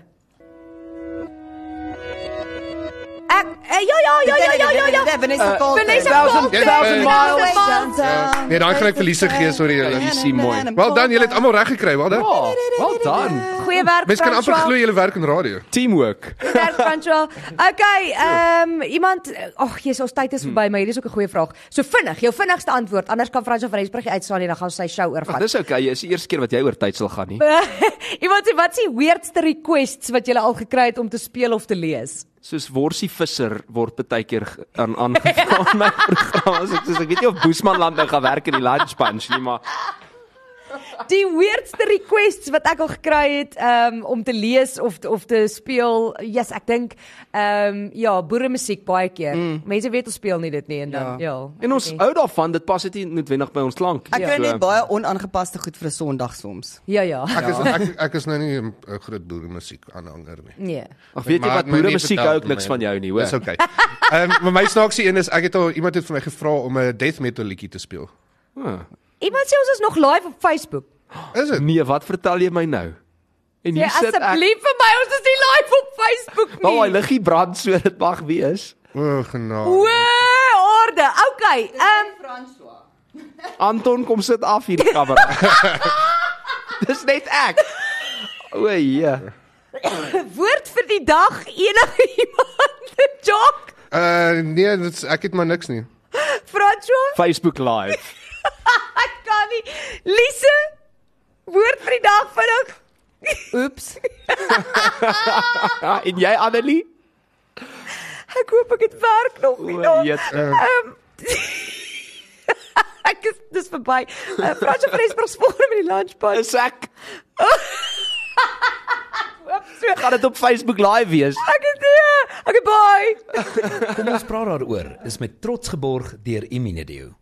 B: Ek eh, ja ja ja ja ja ja ja.
F: Vanessa Carlton.
B: Vanessa
C: Thousand-
B: Carlton.
D: thousand
B: Thousand miles.
D: Ja. Nee, daai gaan ek verliese gee, sorry julle.
C: Hier sien mooi.
D: Wel dan, julle het almal reg gekry, wel dan.
C: Ja, well done.
B: Goeie werk.
D: Mense kan amper
B: François.
D: glo julle werk in radio.
C: Teamwork.
B: Werk François. Okay, ehm um, iemand ag, jy's ons tyd is verby, maar hierdie is ook 'n goeie vraag. So vinnig, jou vinnigste antwoord. Anders kan François van Rensburg uitstaan en dan gaan ons sy show
C: Ag,
B: oorvat.
C: Ah, dis okay. Dis die eerste keer wat jy oor tyd sal gaan nie.
B: Iemand sê wat is die weirdste requests wat jy al gekry het om te speel of te lees?
C: Soos worsie visser word baie keer ge- aan aangevra in my programma. So ek soos ek weet nie of Boesman land nou gaan werk in die lunch punch nie, maar
B: Die weirdste requests wat ek al gekry het um, om te lees of te- of te speel. Yes, ek dink ehm um, ja, boere musiek baie keer. Mm. Mense weet ons speel nie dit nie en dan ja. ja.
C: en ons hou daarvan, dit pas dit nie noodwendig by ons klank.
F: Ek kry
C: So,
F: net baie onaangepaste goed vir 'n Sondag soms.
B: Ja ja.
D: Ek is ek ek is nou nie 'n groot boere musiek aanhanger nie.
B: Nee.
C: Ag, weet jy
D: Maar
C: wat
D: my nie
C: boere musiek
D: vertel
C: hou ek niks
D: my.
C: van jou nie,
D: Dis
C: hoor.
D: okay. Ehm maar my snaakse een is ek het al iemand het vir my gevra om 'n death metal liedjie te speel.
C: Huh.
B: Iemand sê ons is nog live op Facebook.
D: Is dit?
C: Nee, wat vertel jy my nou? En
B: Jy
C: hier sit ek.
B: Ja, Nee, asseblief vir my, ons is nie live op Facebook
C: Wel, hy
B: nie.
C: liggie brand so dit mag wees.
D: O, genade.
B: O, orde. Okay. Ehm um,
C: Anton kom sit af hierdie kamera. Dis net ek. O ja.
B: woord vir die dag enige iemand. Jock,
D: Uh nee, dit is- ek het maar niks nie.
B: François,
C: Facebook live.
B: Ek kan nie. Lise, woord vir die dag vinnig.
F: Oeps.
C: Ja, en jy Annelie?
B: Ek hoop ek het werk nog nie.
C: O
B: daar.
C: jette.
B: Ehm Ek is dis verby. Uh, Fransje Presburg spoor met die lunchpad.
C: Is ek. Gaan dit op Facebook live wees?
B: Ek is nee. Okay, bye.
G: Kom ons praat daaroor is met trots geborg deur Imunedio.